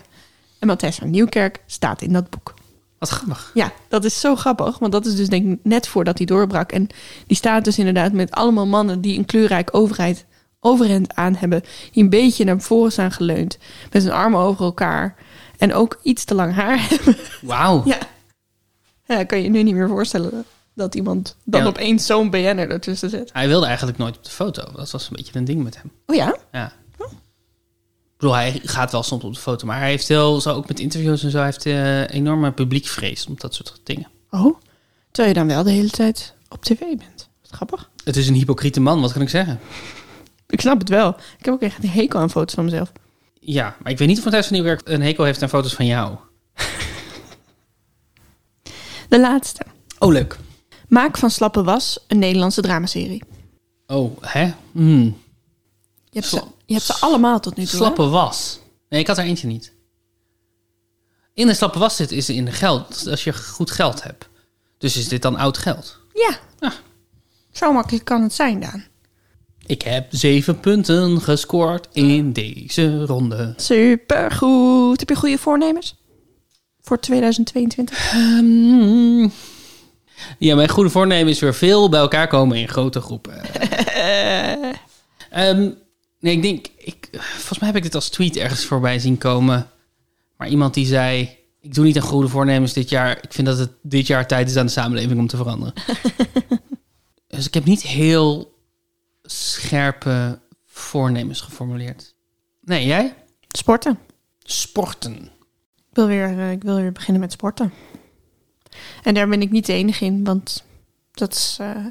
S2: En Matthijs van Nieuwkerk staat in dat boek.
S1: Wat grappig.
S2: Ja, dat is zo grappig. Want dat is dus denk ik net voordat hij doorbrak. En die staat dus inderdaad met allemaal mannen... die een kleurrijk overheid, overhemd aan hebben... die een beetje naar voren zijn geleund. Met hun armen over elkaar. En ook iets te lang haar hebben.
S1: Wauw.
S2: Ja. Ja, kan je je nu niet meer voorstellen dat iemand dan
S1: Ja.
S2: opeens zo'n BN'er ertussen zet.
S1: Hij wilde eigenlijk nooit op de foto. Dat was een beetje een ding met hem.
S2: Oh ja?
S1: Ja. Ik bedoel, hij gaat wel soms op de foto, maar hij heeft heel, zo ook met interviews en zo, hij heeft eh, enorme publiekvrees om dat soort dingen.
S2: Oh. Terwijl je dan wel de hele tijd op tv bent. Wat grappig.
S1: Het is een hypocriete man, wat kan ik zeggen?
S2: Ik snap het wel. Ik heb ook echt een hekel aan foto's van mezelf.
S1: Ja, maar ik weet niet of Matthijs van Nieuwkerk een hekel heeft aan foto's van jou.
S2: De laatste.
S1: Oh, leuk.
S2: Maak van Slappe Was een Nederlandse dramaserie.
S1: Oh, hè? Hmm.
S2: Je hebt, ze,
S1: Sla-
S2: je hebt ze allemaal tot nu toe. hè?
S1: Slappe was. Nee, ik had er eentje niet. In een slappe was zit is in geld, als je goed geld hebt. Dus is dit dan oud geld?
S2: Ja.
S1: Ah.
S2: Zo makkelijk kan het zijn, Daan.
S1: Ik heb zeven punten gescoord in deze ronde.
S2: Supergoed. Heb je goede voornemens? Voor 2022?
S1: Ehm, ja, mijn goede voornemen is weer veel bij elkaar komen in grote groepen. Ehm, nee, ik denk, ik, volgens mij heb ik dit als tweet ergens voorbij zien komen. Maar iemand die zei, ik doe niet aan goede voornemens dit jaar. Ik vind dat het dit jaar tijd is aan de samenleving om te veranderen. dus ik heb niet heel scherpe voornemens geformuleerd. Nee, jij?
S2: Sporten.
S1: Sporten.
S2: Ik wil weer, eh, ik wil weer beginnen met sporten. En daar ben ik niet de enige in, want dat is eh,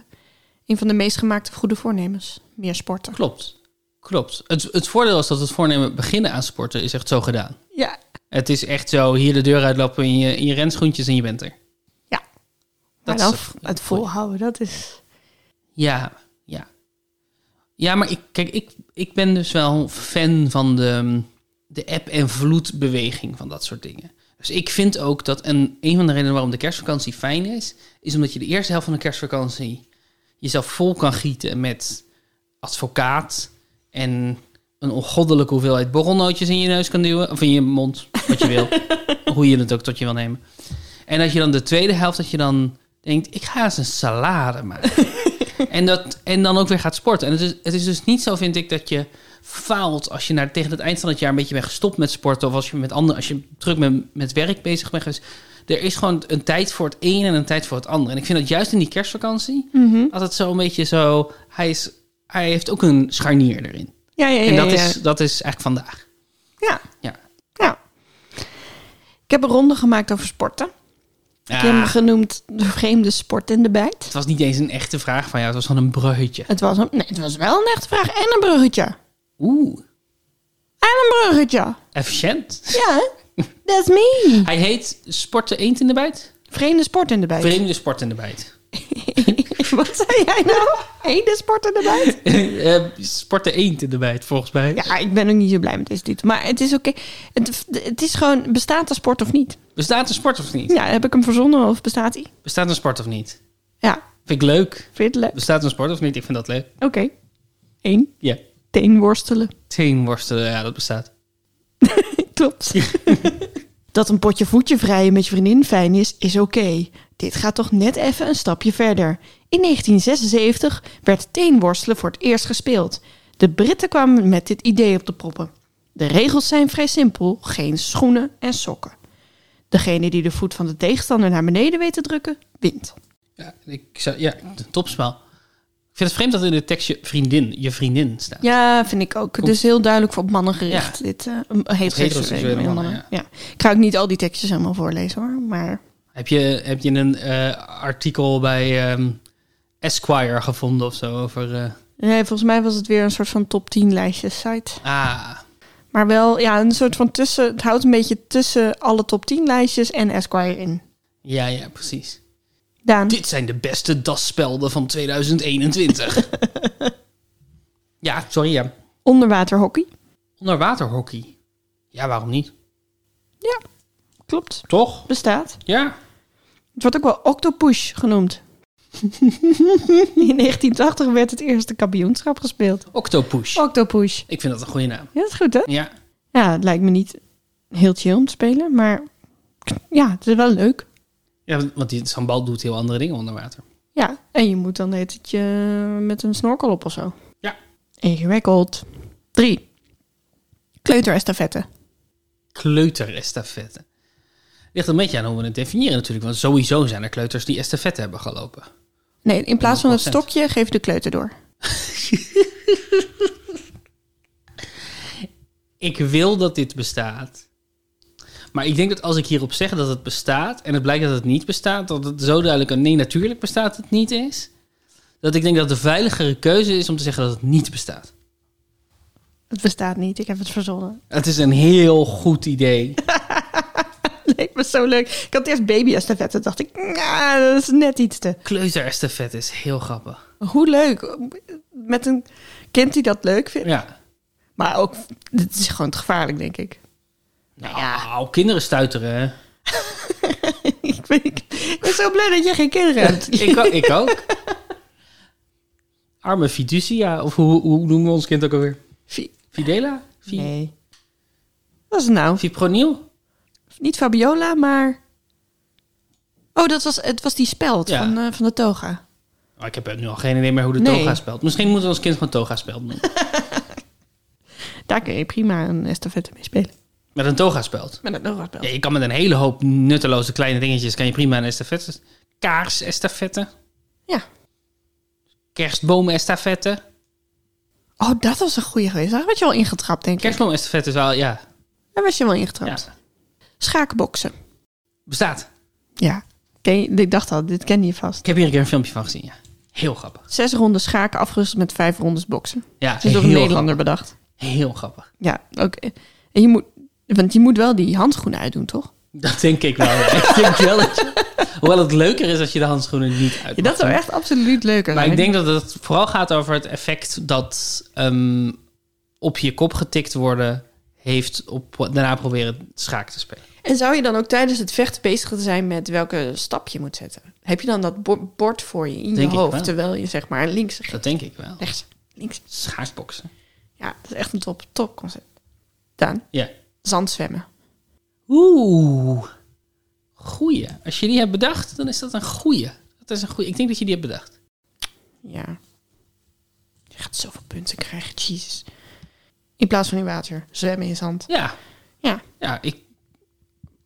S2: een van de meest gemaakte goede voornemens. Meer sporten.
S1: Klopt. Klopt. Het, het voordeel is dat het voornemen beginnen aan sporten is echt zo gedaan.
S2: Ja.
S1: Het is echt zo, hier de deur uitlopen in je, in je renschoentjes en je bent er.
S2: Ja.
S1: Dat
S2: maar dan
S1: is een-
S2: het volhouden, dat is...
S1: Ja, ja. Ja, maar ik, kijk, ik, ik ben dus wel fan van de, de app- en vloedbeweging van dat soort dingen. Dus ik vind ook dat een, een van de redenen waarom de kerstvakantie fijn is, is omdat je de eerste helft van de kerstvakantie jezelf vol kan gieten met advocaat en een ongoddelijke hoeveelheid borrelnootjes in je neus kan duwen, of in je mond, wat je wil, hoe je het ook tot je wil nemen. En dat je dan de tweede helft, dat je dan denkt, ik ga eens een salade maken. En, dat, en dan ook weer gaat sporten. En het is, het is dus niet zo, vind ik, dat je faalt als je naar, tegen het eind van het jaar een beetje bent gestopt met sporten. Of als je, met ander, als je druk met, met werk bezig bent geweest. Er is gewoon een tijd voor het een en een tijd voor het ander. En ik vind dat juist in die kerstvakantie
S2: Mhm.
S1: altijd zo een beetje zo... Hij, is, hij heeft ook een scharnier erin.
S2: Ja, ja, ja.
S1: En dat
S2: ja.
S1: is, dat is eigenlijk vandaag.
S2: Ja.
S1: Ja.
S2: ja. Ik heb een ronde gemaakt over sporten. Ik heb hem
S1: Ah,
S2: genoemd de vreemde sport in de bijt.
S1: het was niet eens een echte vraag van jou. Het was gewoon een bruggetje.
S2: Het was, een, nee, het was wel een echte vraag en een bruggetje. En
S1: Oeh,
S2: een bruggetje.
S1: efficiënt.
S2: Ja, that's me.
S1: Hij heet Sporten Eend in de Bijt?
S2: Vreemde sport in de bijt.
S1: Vreemde Sport in de Bijt.
S2: Ik Wat zei jij nou? Eén sport in de buit?
S1: Eh, Sport de eend in de bijt, volgens mij.
S2: Ja, ik ben ook niet zo blij met deze titel. Maar het is oké. Het, het is gewoon, bestaat de sport of niet?
S1: Bestaat een sport of niet?
S2: Ja, heb ik hem verzonnen of bestaat hij?
S1: Bestaat een sport of niet?
S2: Ja,
S1: Vind ik leuk.
S2: vind je het leuk?
S1: Bestaat een sport of niet? Ik vind dat leuk.
S2: Oké. Eén,
S1: Ja.
S2: teen worstelen.
S1: Teenworstelen, ja, dat bestaat.
S2: Klopt. dat een potje voetje vrijen met je vriendin fijn is, is oké. Dit gaat toch net even een stapje verder. In 1976 werd teenworstelen voor het eerst gespeeld. De Britten kwamen met dit idee op de proppen. De regels zijn vrij simpel: geen schoenen en sokken. Degene die de voet van de tegenstander naar beneden weet te drukken, wint.
S1: Ja, ik zou, ja topspel. Ik vind het vreemd dat in het tekstje vriendin, je vriendin staat.
S2: Ja, vind ik ook. Dus heel duidelijk voor op mannen gericht.
S1: Ja.
S2: Dit eh, een heteroseksuele
S1: Heteroseksuele
S2: mannen.
S1: mannen,
S2: ja. Ik ga ook niet al die tekstjes helemaal voorlezen hoor, maar
S1: Heb je, heb je een eh, artikel bij ehm, Esquire gevonden of zo over... eh,
S2: Nee, volgens mij was het weer een soort van top 10 lijstje site.
S1: ah,
S2: Maar wel, ja, een soort van tussen... Het houdt een beetje tussen alle top 10 lijstjes en Esquire in.
S1: ja, ja, precies.
S2: Daan,
S1: Dit zijn de beste dasspelden van 2021. ja, sorry, ja.
S2: onderwaterhockey.
S1: Onderwaterhockey. Ja, waarom niet?
S2: Ja, klopt.
S1: Toch?
S2: Bestaat.
S1: Ja.
S2: Het wordt ook wel octopush genoemd. in 1980 werd het eerste kampioenschap gespeeld.
S1: Octopush.
S2: Octopush.
S1: Ik vind dat een goede naam.
S2: Ja, dat is goed, hè?
S1: Ja.
S2: Ja, het lijkt me niet heel chill om te spelen, maar... Ja, het is wel leuk.
S1: ja want die- zo'n bal doet heel andere dingen onder water.
S2: Ja, en je moet dan heet het je met een snorkel op of zo.
S1: Ja.
S2: Ingewikkeld. Drie. Kleuterestafette.
S1: Kleuterestafette. Ligt een beetje aan hoe we het definiëren natuurlijk. Want sowieso zijn er kleuters die estafette hebben gelopen.
S2: Nee, in plaats van het
S1: 100%.
S2: stokje geef de kleuter door.
S1: Ik wil dat dit bestaat. Maar ik denk dat als ik hierop zeg dat het bestaat... en het blijkt dat het niet bestaat... dat het zo duidelijk een nee, natuurlijk bestaat het niet is... dat ik denk dat de veiligere keuze is om te zeggen dat het niet bestaat.
S2: Het bestaat niet, ik heb het verzonnen.
S1: Het is een heel goed idee.
S2: Leek me zo leuk. Ik had eerst baby-estafette, dacht ik, nah, dat is net iets te.
S1: Kleuterestafette is heel grappig.
S2: Hoe leuk. Met een kind die dat leuk vindt.
S1: Ja.
S2: Maar ook, dit is gewoon te gevaarlijk, denk ik.
S1: Nou, kinderen stuiteren. hè?
S2: ik, ben, ik ben zo blij dat jij geen kinderen hebt.
S1: ik, o- ik ook. Arme Fiducia, of hoe, hoe noemen we ons kind ook alweer?
S2: Fi-
S1: Fidela? Vi
S2: Nee. Wat is het nou?
S1: Fipronil?
S2: Niet Fabiola, maar. Oh, dat was, het was die speld
S1: Ja.
S2: van, eh, van de toga.
S1: Oh, ik heb nu al geen idee meer hoe de
S2: Nee.
S1: toga speelt. Misschien moeten we ons kind gewoon toga speld noemen.
S2: Daar kun je prima een estafette mee spelen.
S1: Met een toga speld.
S2: Met een toga-speld.
S1: Ja, je kan met een hele hoop nutteloze kleine dingetjes... kan je prima een estafette... Kaars-estafette.
S2: Ja.
S1: Kerstboom-estafette.
S2: Oh, dat was een goede geweest. Daar werd je wel ingetrapt, denk ik.
S1: Kerstboom-estafette is wel... Ja,
S2: Daar werd je wel
S1: ja.
S2: ingetrapt. Schaakboksen.
S1: Bestaat.
S2: Ja. Ken je, ik dacht al, dit ken je vast.
S1: Ik heb hier een keer een filmpje van gezien, ja. Heel grappig.
S2: Zes ronden schaken afgerust met vijf rondes boksen.
S1: Ja,
S2: Dat is door een
S1: heel
S2: Nederlander bedacht.
S1: grappig. Heel grappig.
S2: Ja, ook. eh, En je moet, want je moet wel die handschoenen uitdoen, toch?
S1: Dat denk ik wel. ja. ik denk wel dat je- hoewel het leuker is als je de handschoenen niet uit.
S2: Ja, dat zou echt absoluut leuker
S1: Maar
S2: zijn.
S1: ik denk dat het vooral gaat over het effect dat ehm, op je kop getikt worden heeft op daarna proberen schaak te spelen.
S2: En zou je dan ook tijdens het vechten bezig zijn met welke stap je moet zetten? Heb je dan dat bo- bord voor je in
S1: Denk
S2: je
S1: ik
S2: hoofd,
S1: wel.
S2: terwijl je zeg maar links, rechts,
S1: Dat denk ik wel.
S2: rechts, links.
S1: Schaakboksen.
S2: Ja, dat is echt een top, top concept. Dan,
S1: Ja.
S2: zandzwemmen.
S1: Oeh. Goeie. Als je die hebt bedacht, dan is dat een goeie. Dat is een goeie. Ik denk dat je die hebt bedacht.
S2: Ja. Je gaat zoveel punten krijgen, jezus. In plaats van in water, zwemmen in zand.
S1: Ja.
S2: Ja,
S1: Ja, ik,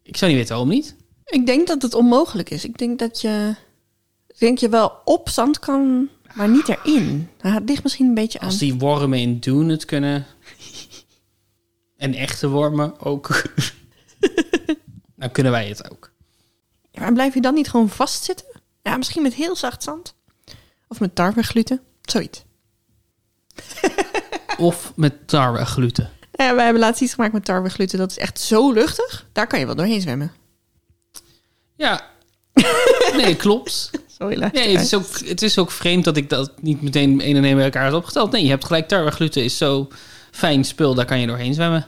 S1: ik zou niet weten waarom niet.
S2: ik denk dat het onmogelijk is. Ik denk dat je, ik denk je wel op zand kan, maar niet erin. Dat ligt misschien een beetje aan.
S1: Als die wormen in Dune het kunnen. En echte wormen ook. dan kunnen wij het ook.
S2: Ja, maar blijf je dan niet gewoon vastzitten? Ja, misschien met heel zacht zand. Of met tarwegluten. Zoiets.
S1: Of met tarwe en gluten.
S2: Ja, wij hebben laatst iets gemaakt met tarwegluten. Dat is echt zo luchtig. Daar kan je wel doorheen zwemmen.
S1: Ja. Nee, klopt.
S2: Sorry, laat
S1: Nee, het is, ook, het is ook vreemd dat ik dat niet meteen één en één bij elkaar had opgeteld. Nee, je hebt gelijk, tarwegluten is zo fijn spul, daar kan je doorheen zwemmen.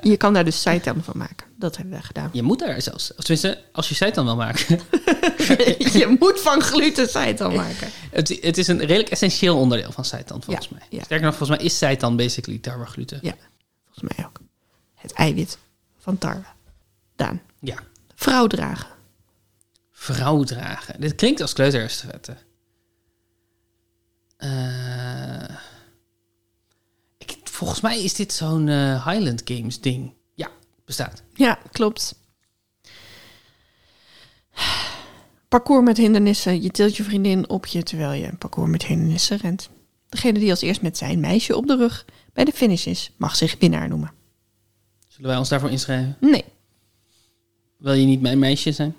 S2: Je kan daar dus seitan van maken. Dat hebben wij gedaan.
S1: Je moet daar zelfs, of tenminste, als je seitan wil maken.
S2: je moet van gluten seitan maken.
S1: het, het is een redelijk essentieel onderdeel van seitan, volgens mij.
S2: ja.
S1: Sterker nog, volgens mij is seitan basically tarwegluten.
S2: Ja, volgens mij ook. Het eiwit van tarwe. Daan.
S1: Ja.
S2: Vrouw dragen.
S1: Vrouw dragen. Dit klinkt als kleuterestafette. Eh ik, volgens mij is dit zo'n eh, Highland Games ding. Ja, bestaat.
S2: Ja, klopt. Parcours met hindernissen. Je tilt je vriendin op je terwijl je een parcours met hindernissen rent. Degene die als eerst met zijn meisje op de rug bij de finish is, mag zich winnaar noemen.
S1: Zullen wij ons daarvoor inschrijven?
S2: Nee,
S1: Wil je niet mijn meisje zijn?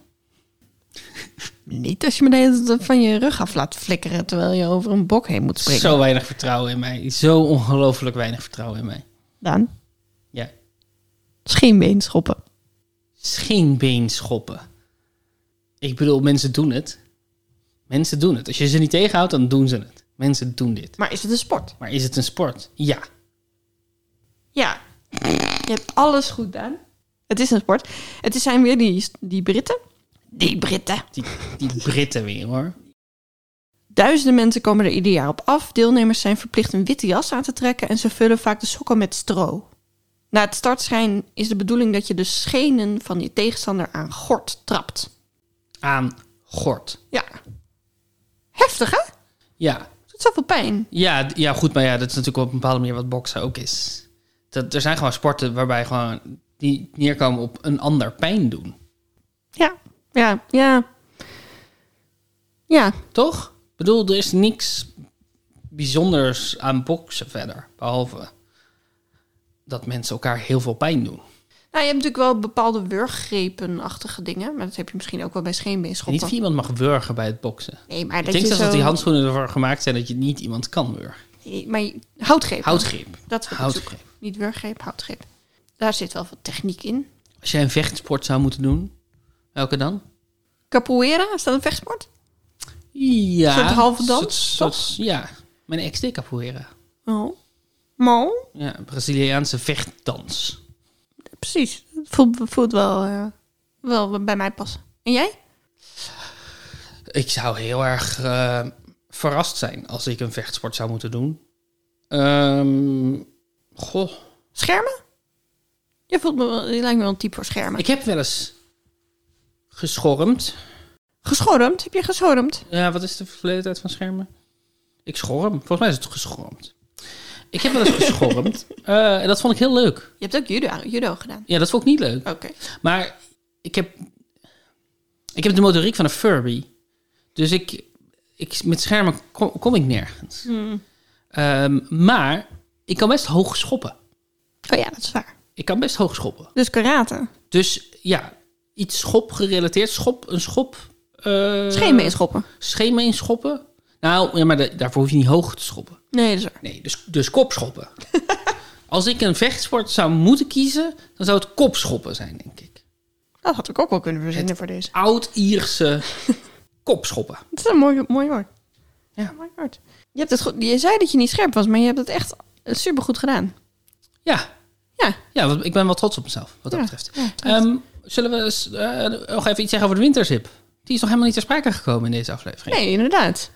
S2: niet als je me de hele tijd van je rug af laat flikkeren terwijl je over een bok heen moet springen.
S1: Zo weinig vertrouwen in mij. Zo ongelooflijk weinig vertrouwen in mij.
S2: Daan,
S1: Ja.
S2: scheenbeen schoppen.
S1: Scheenbeen schoppen. Ik bedoel, mensen doen het. Mensen doen het. Als je ze niet tegenhoudt, dan doen ze het. Mensen doen dit.
S2: Maar is het een sport?
S1: Maar is het een sport? Ja.
S2: Ja. Je hebt alles goed gedaan. Het is een sport. Het is- zijn weer die, die Britten. Die Britten.
S1: Die, die Britten weer hoor.
S2: Duizenden mensen komen er ieder jaar op af. Deelnemers zijn verplicht een witte jas aan te trekken en ze vullen vaak de sokken met stro. Na het startschijn is de bedoeling dat je de schenen van je tegenstander aan gort trapt.
S1: Aan gort.
S2: Ja. Heftig, hè?
S1: Ja.
S2: Dat doet zoveel pijn.
S1: Ja, d- ja, goed, maar ja, dat is natuurlijk op een bepaalde manier wat boksen ook is. Dat, er zijn gewoon sporten waarbij gewoon die neerkomen op een ander pijn doen.
S2: Ja. Ja. Ja. Ja.
S1: Toch? Ik bedoel, er is niks bijzonders aan boksen verder. Behalve dat mensen elkaar heel veel pijn doen.
S2: Nou, je hebt natuurlijk wel bepaalde wurggrepenachtige dingen. Maar dat heb je misschien ook wel bij
S1: Niet
S2: scheenbeenschoppen.
S1: iemand mag wurgen bij het boksen.
S2: Nee, maar
S1: Ik
S2: dat
S1: denk
S2: je
S1: zelfs
S2: zo...
S1: dat die handschoenen ervoor gemaakt zijn dat je niet iemand kan wurgen.
S2: Nee, Maar je- houtgrepen.
S1: Houtgreep.
S2: Dat is wat ik
S1: Houtgreep.
S2: zoek. Niet wurggreep, houtgreep. Daar zit wel wat techniek in.
S1: Als jij een vechtsport zou moeten doen, welke dan?
S2: Capoeira, is dat een vechtsport?
S1: Ja.
S2: Een soort halve dans,
S1: soort- soort- ja. Mijn ex deed capoeira.
S2: Oh. Maar,
S1: Ja, Braziliaanse vechtdans.
S2: precies. Voelt, voelt wel, eh, wel bij mij passen. En jij?
S1: Ik zou heel erg eh, verrast zijn als ik een vechtsport zou moeten doen. Ehm, goh,
S2: Schermen? Je, voelt me wel, je lijkt me wel een type voor schermen.
S1: ik heb wel eens geschormd.
S2: Geschormd? Heb je geschormd?
S1: Ja, wat is de verleden tijd van schermen? Ik schorm. Volgens mij is het geschormd. Ik heb wel eens geschormd. Eh, en dat vond ik heel leuk.
S2: Je hebt ook judo, judo gedaan.
S1: Ja, dat vond ik niet leuk.
S2: Oké.
S1: Maar ik heb, ik heb de motoriek van een Furby. Dus ik, ik, met schermen kom, kom ik nergens. Ehm, maar ik kan best hoog schoppen.
S2: Oh ja, dat is waar.
S1: Ik kan best hoog schoppen.
S2: Dus karate.
S1: Dus ja, iets schop gerelateerd. Schop, een schop. eh
S2: Scheenbeenschoppen.
S1: Schema inschoppen. Nou, ja, maar da- daarvoor hoef je niet hoog te schoppen.
S2: Nee, dat is waar.
S1: Nee, dus, dus kopschoppen. Als ik een vechtsport zou moeten kiezen, dan zou het kopschoppen zijn, denk ik.
S2: Dat had ik ook wel kunnen verzinnen voor deze.
S1: Oud-Ierse kopschoppen.
S2: Het is een mooi, mooi woord.
S1: Ja.
S2: Mooi woord. Je, hebt het goed, je zei dat je niet scherp was, maar je hebt het echt supergoed gedaan.
S1: Ja,
S2: Ja,
S1: ja want ik ben wel trots op mezelf, wat dat
S2: Ja,
S1: betreft.
S2: ja,
S1: Ehm, zullen we eens, eh, nog even iets zeggen over de winterzip? Die is nog helemaal niet ter sprake gekomen in deze aflevering.
S2: nee, inderdaad.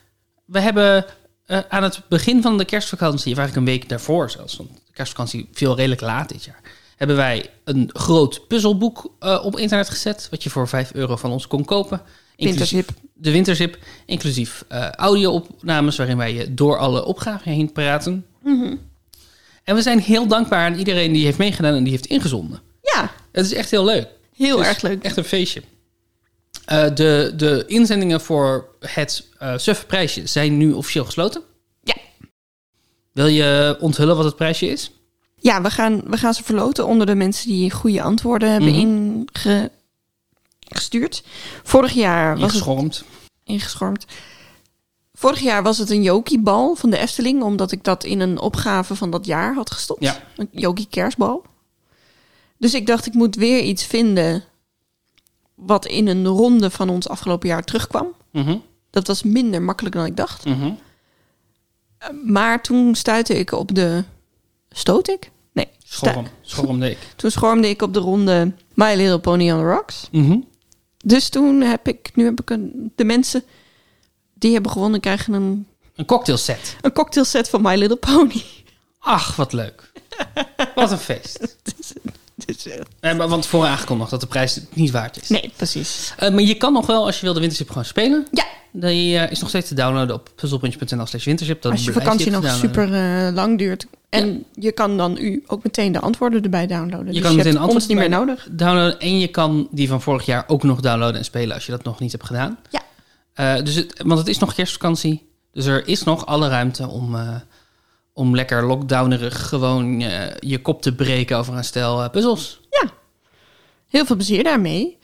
S1: We hebben eh, aan het begin van de kerstvakantie, of eigenlijk een week daarvoor zelfs, want de kerstvakantie viel redelijk laat dit jaar, hebben wij een groot puzzelboek eh, op internet gezet, wat je voor 5 euro van ons kon kopen. Inclusief
S2: Winterzip.
S1: De winterzip, inclusief eh audio-opnames waarin wij je door alle opgaven heen praten. En we zijn heel dankbaar aan iedereen die heeft meegedaan en die heeft ingezonden.
S2: Ja,
S1: Het is echt heel leuk.
S2: heel
S1: Het is
S2: erg leuk.
S1: Echt een feestje. Eh, de, de inzendingen voor het eh suffe prijsje zijn nu officieel gesloten.
S2: Ja.
S1: Wil je onthullen wat het prijsje is?
S2: Ja, we gaan, we gaan ze verloten onder de mensen die goede antwoorden hebben Mhm. ingestuurd. Vorig jaar was het
S1: Ingeschormd.
S2: ingeschormd. Vorig jaar was het een Jokiebal van de Efteling, omdat ik dat in een opgave van dat jaar had gestopt.
S1: Ja.
S2: Een Jokie Kerstbal. Dus ik dacht, ik moet weer iets vinden wat in een ronde van ons afgelopen jaar terugkwam.
S1: Mhm,
S2: Dat was minder makkelijk dan ik dacht. Eh,
S1: mhm.
S2: Maar toen stuitte ik op de... Stoot ik? Nee. sta-
S1: Schorm, schormde ik.
S2: Toen schormde ik op de ronde My Little Pony on the Rocks.
S1: Mhm.
S2: Dus toen heb ik... Nu heb ik een, de mensen die hebben gewonnen krijgen een,
S1: Een cocktailset.
S2: een cocktail set van My Little Pony.
S1: Ach, wat leuk. wat een feest.
S2: Dus, eh,
S1: Eh, maar- want voor aangekondigd dat de prijs het niet waard is.
S2: nee, precies.
S1: Eh, maar je kan nog wel, als je wil, de Wintership gewoon spelen.
S2: Ja,
S1: Die eh, is nog steeds te downloaden op puzzelpuntje.nl slash wintership. Dat
S2: als je
S1: blijft
S2: vakantie
S1: te
S2: nog
S1: downloaden.
S2: super eh, lang duurt. En je kan dan u ook meteen de antwoorden erbij downloaden.
S1: Je
S2: dus
S1: kan
S2: je
S1: meteen
S2: hebt
S1: de antwoorden
S2: ons niet meer
S1: erbij-
S2: nodig.
S1: downloaden. En je kan die van vorig jaar ook nog downloaden en spelen als je dat nog niet hebt gedaan.
S2: Ja.
S1: Eh, dus het, want het is nog kerstvakantie. Dus er is nog alle ruimte om, eh, om lekker lockdownerig gewoon eh, je kop te breken over een stel eh, puzzels.
S2: Heel veel plezier daarmee.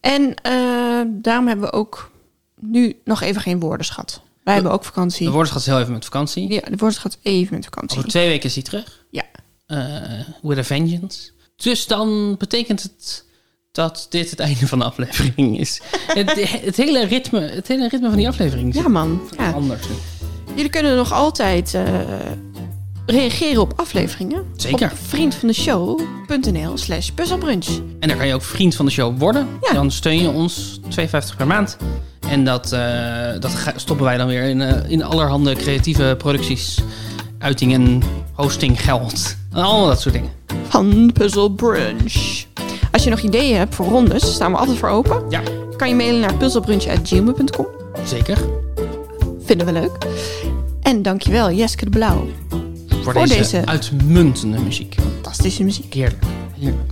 S2: En eh, daarom hebben we ook nu nog even geen woordenschat. Wij hebben ook
S1: De Oh,
S2: vakantie.
S1: woordenschat is heel even met vakantie.
S2: Ja, de woordenschat even met vakantie.
S1: Over twee weken is die terug.
S2: Ja.
S1: Eh, with a vengeance. Dus dan betekent het dat dit het einde van de aflevering is. het, het, hele ritme, het hele ritme van die aflevering is
S2: Ja, man. Ja.
S1: anders.
S2: Jullie kunnen nog altijd eh, reageren op afleveringen.
S1: Zeker.
S2: Op vriendvandeshow.nl slash puzzelbrunch.
S1: En daar kan je ook vriend van de show worden.
S2: Ja.
S1: Dan steun je ons 2,50 per maand. En dat, eh, dat ga- stoppen wij dan weer in, eh, in allerhande creatieve producties. Uitingen, hosting, geld. En allemaal dat soort dingen.
S2: van Puzzle Brunch. Als je nog ideeën hebt voor rondes, staan we altijd voor open.
S1: Ja,
S2: Kan je mailen naar puzzlebrunch.gmail.com.
S1: zeker.
S2: Vinden we leuk. En dankjewel Jeske de Blauw.
S1: Voor,
S2: Voor
S1: deze,
S2: deze-
S1: uitmuntende muziek.
S2: Fantastische muziek.
S1: Heerlijk. Heerlijk.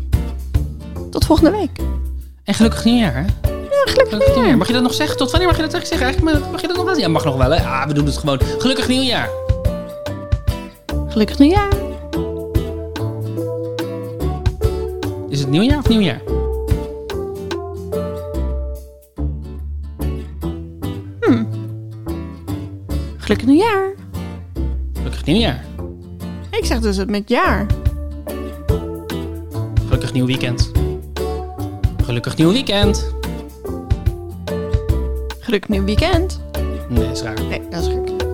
S2: Tot volgende week.
S1: En gelukkig nieuwjaar, hè?
S2: Ja, gelukkig
S1: Gelukkig nieuwjaar.
S2: weer.
S1: Mag je dat nog zeggen? Tot wanneer mag je dat eigenlijk zeggen? Eigenlijk mag je dat nog wel? Ja, mag nog wel, hè? Ah, we doen het gewoon. Gelukkig nieuwjaar.
S2: Gelukkig nieuwjaar.
S1: Is het nieuwjaar of nieuwjaar?
S2: Gelukkig nieuwjaar.
S1: Gelukkig nieuwjaar.
S2: Ik zeg dus het met jaar.
S1: Gelukkig nieuw weekend. Gelukkig nieuw weekend.
S2: Gelukkig nieuw weekend.
S1: Nee, is raar.
S2: Nee, dat is gek.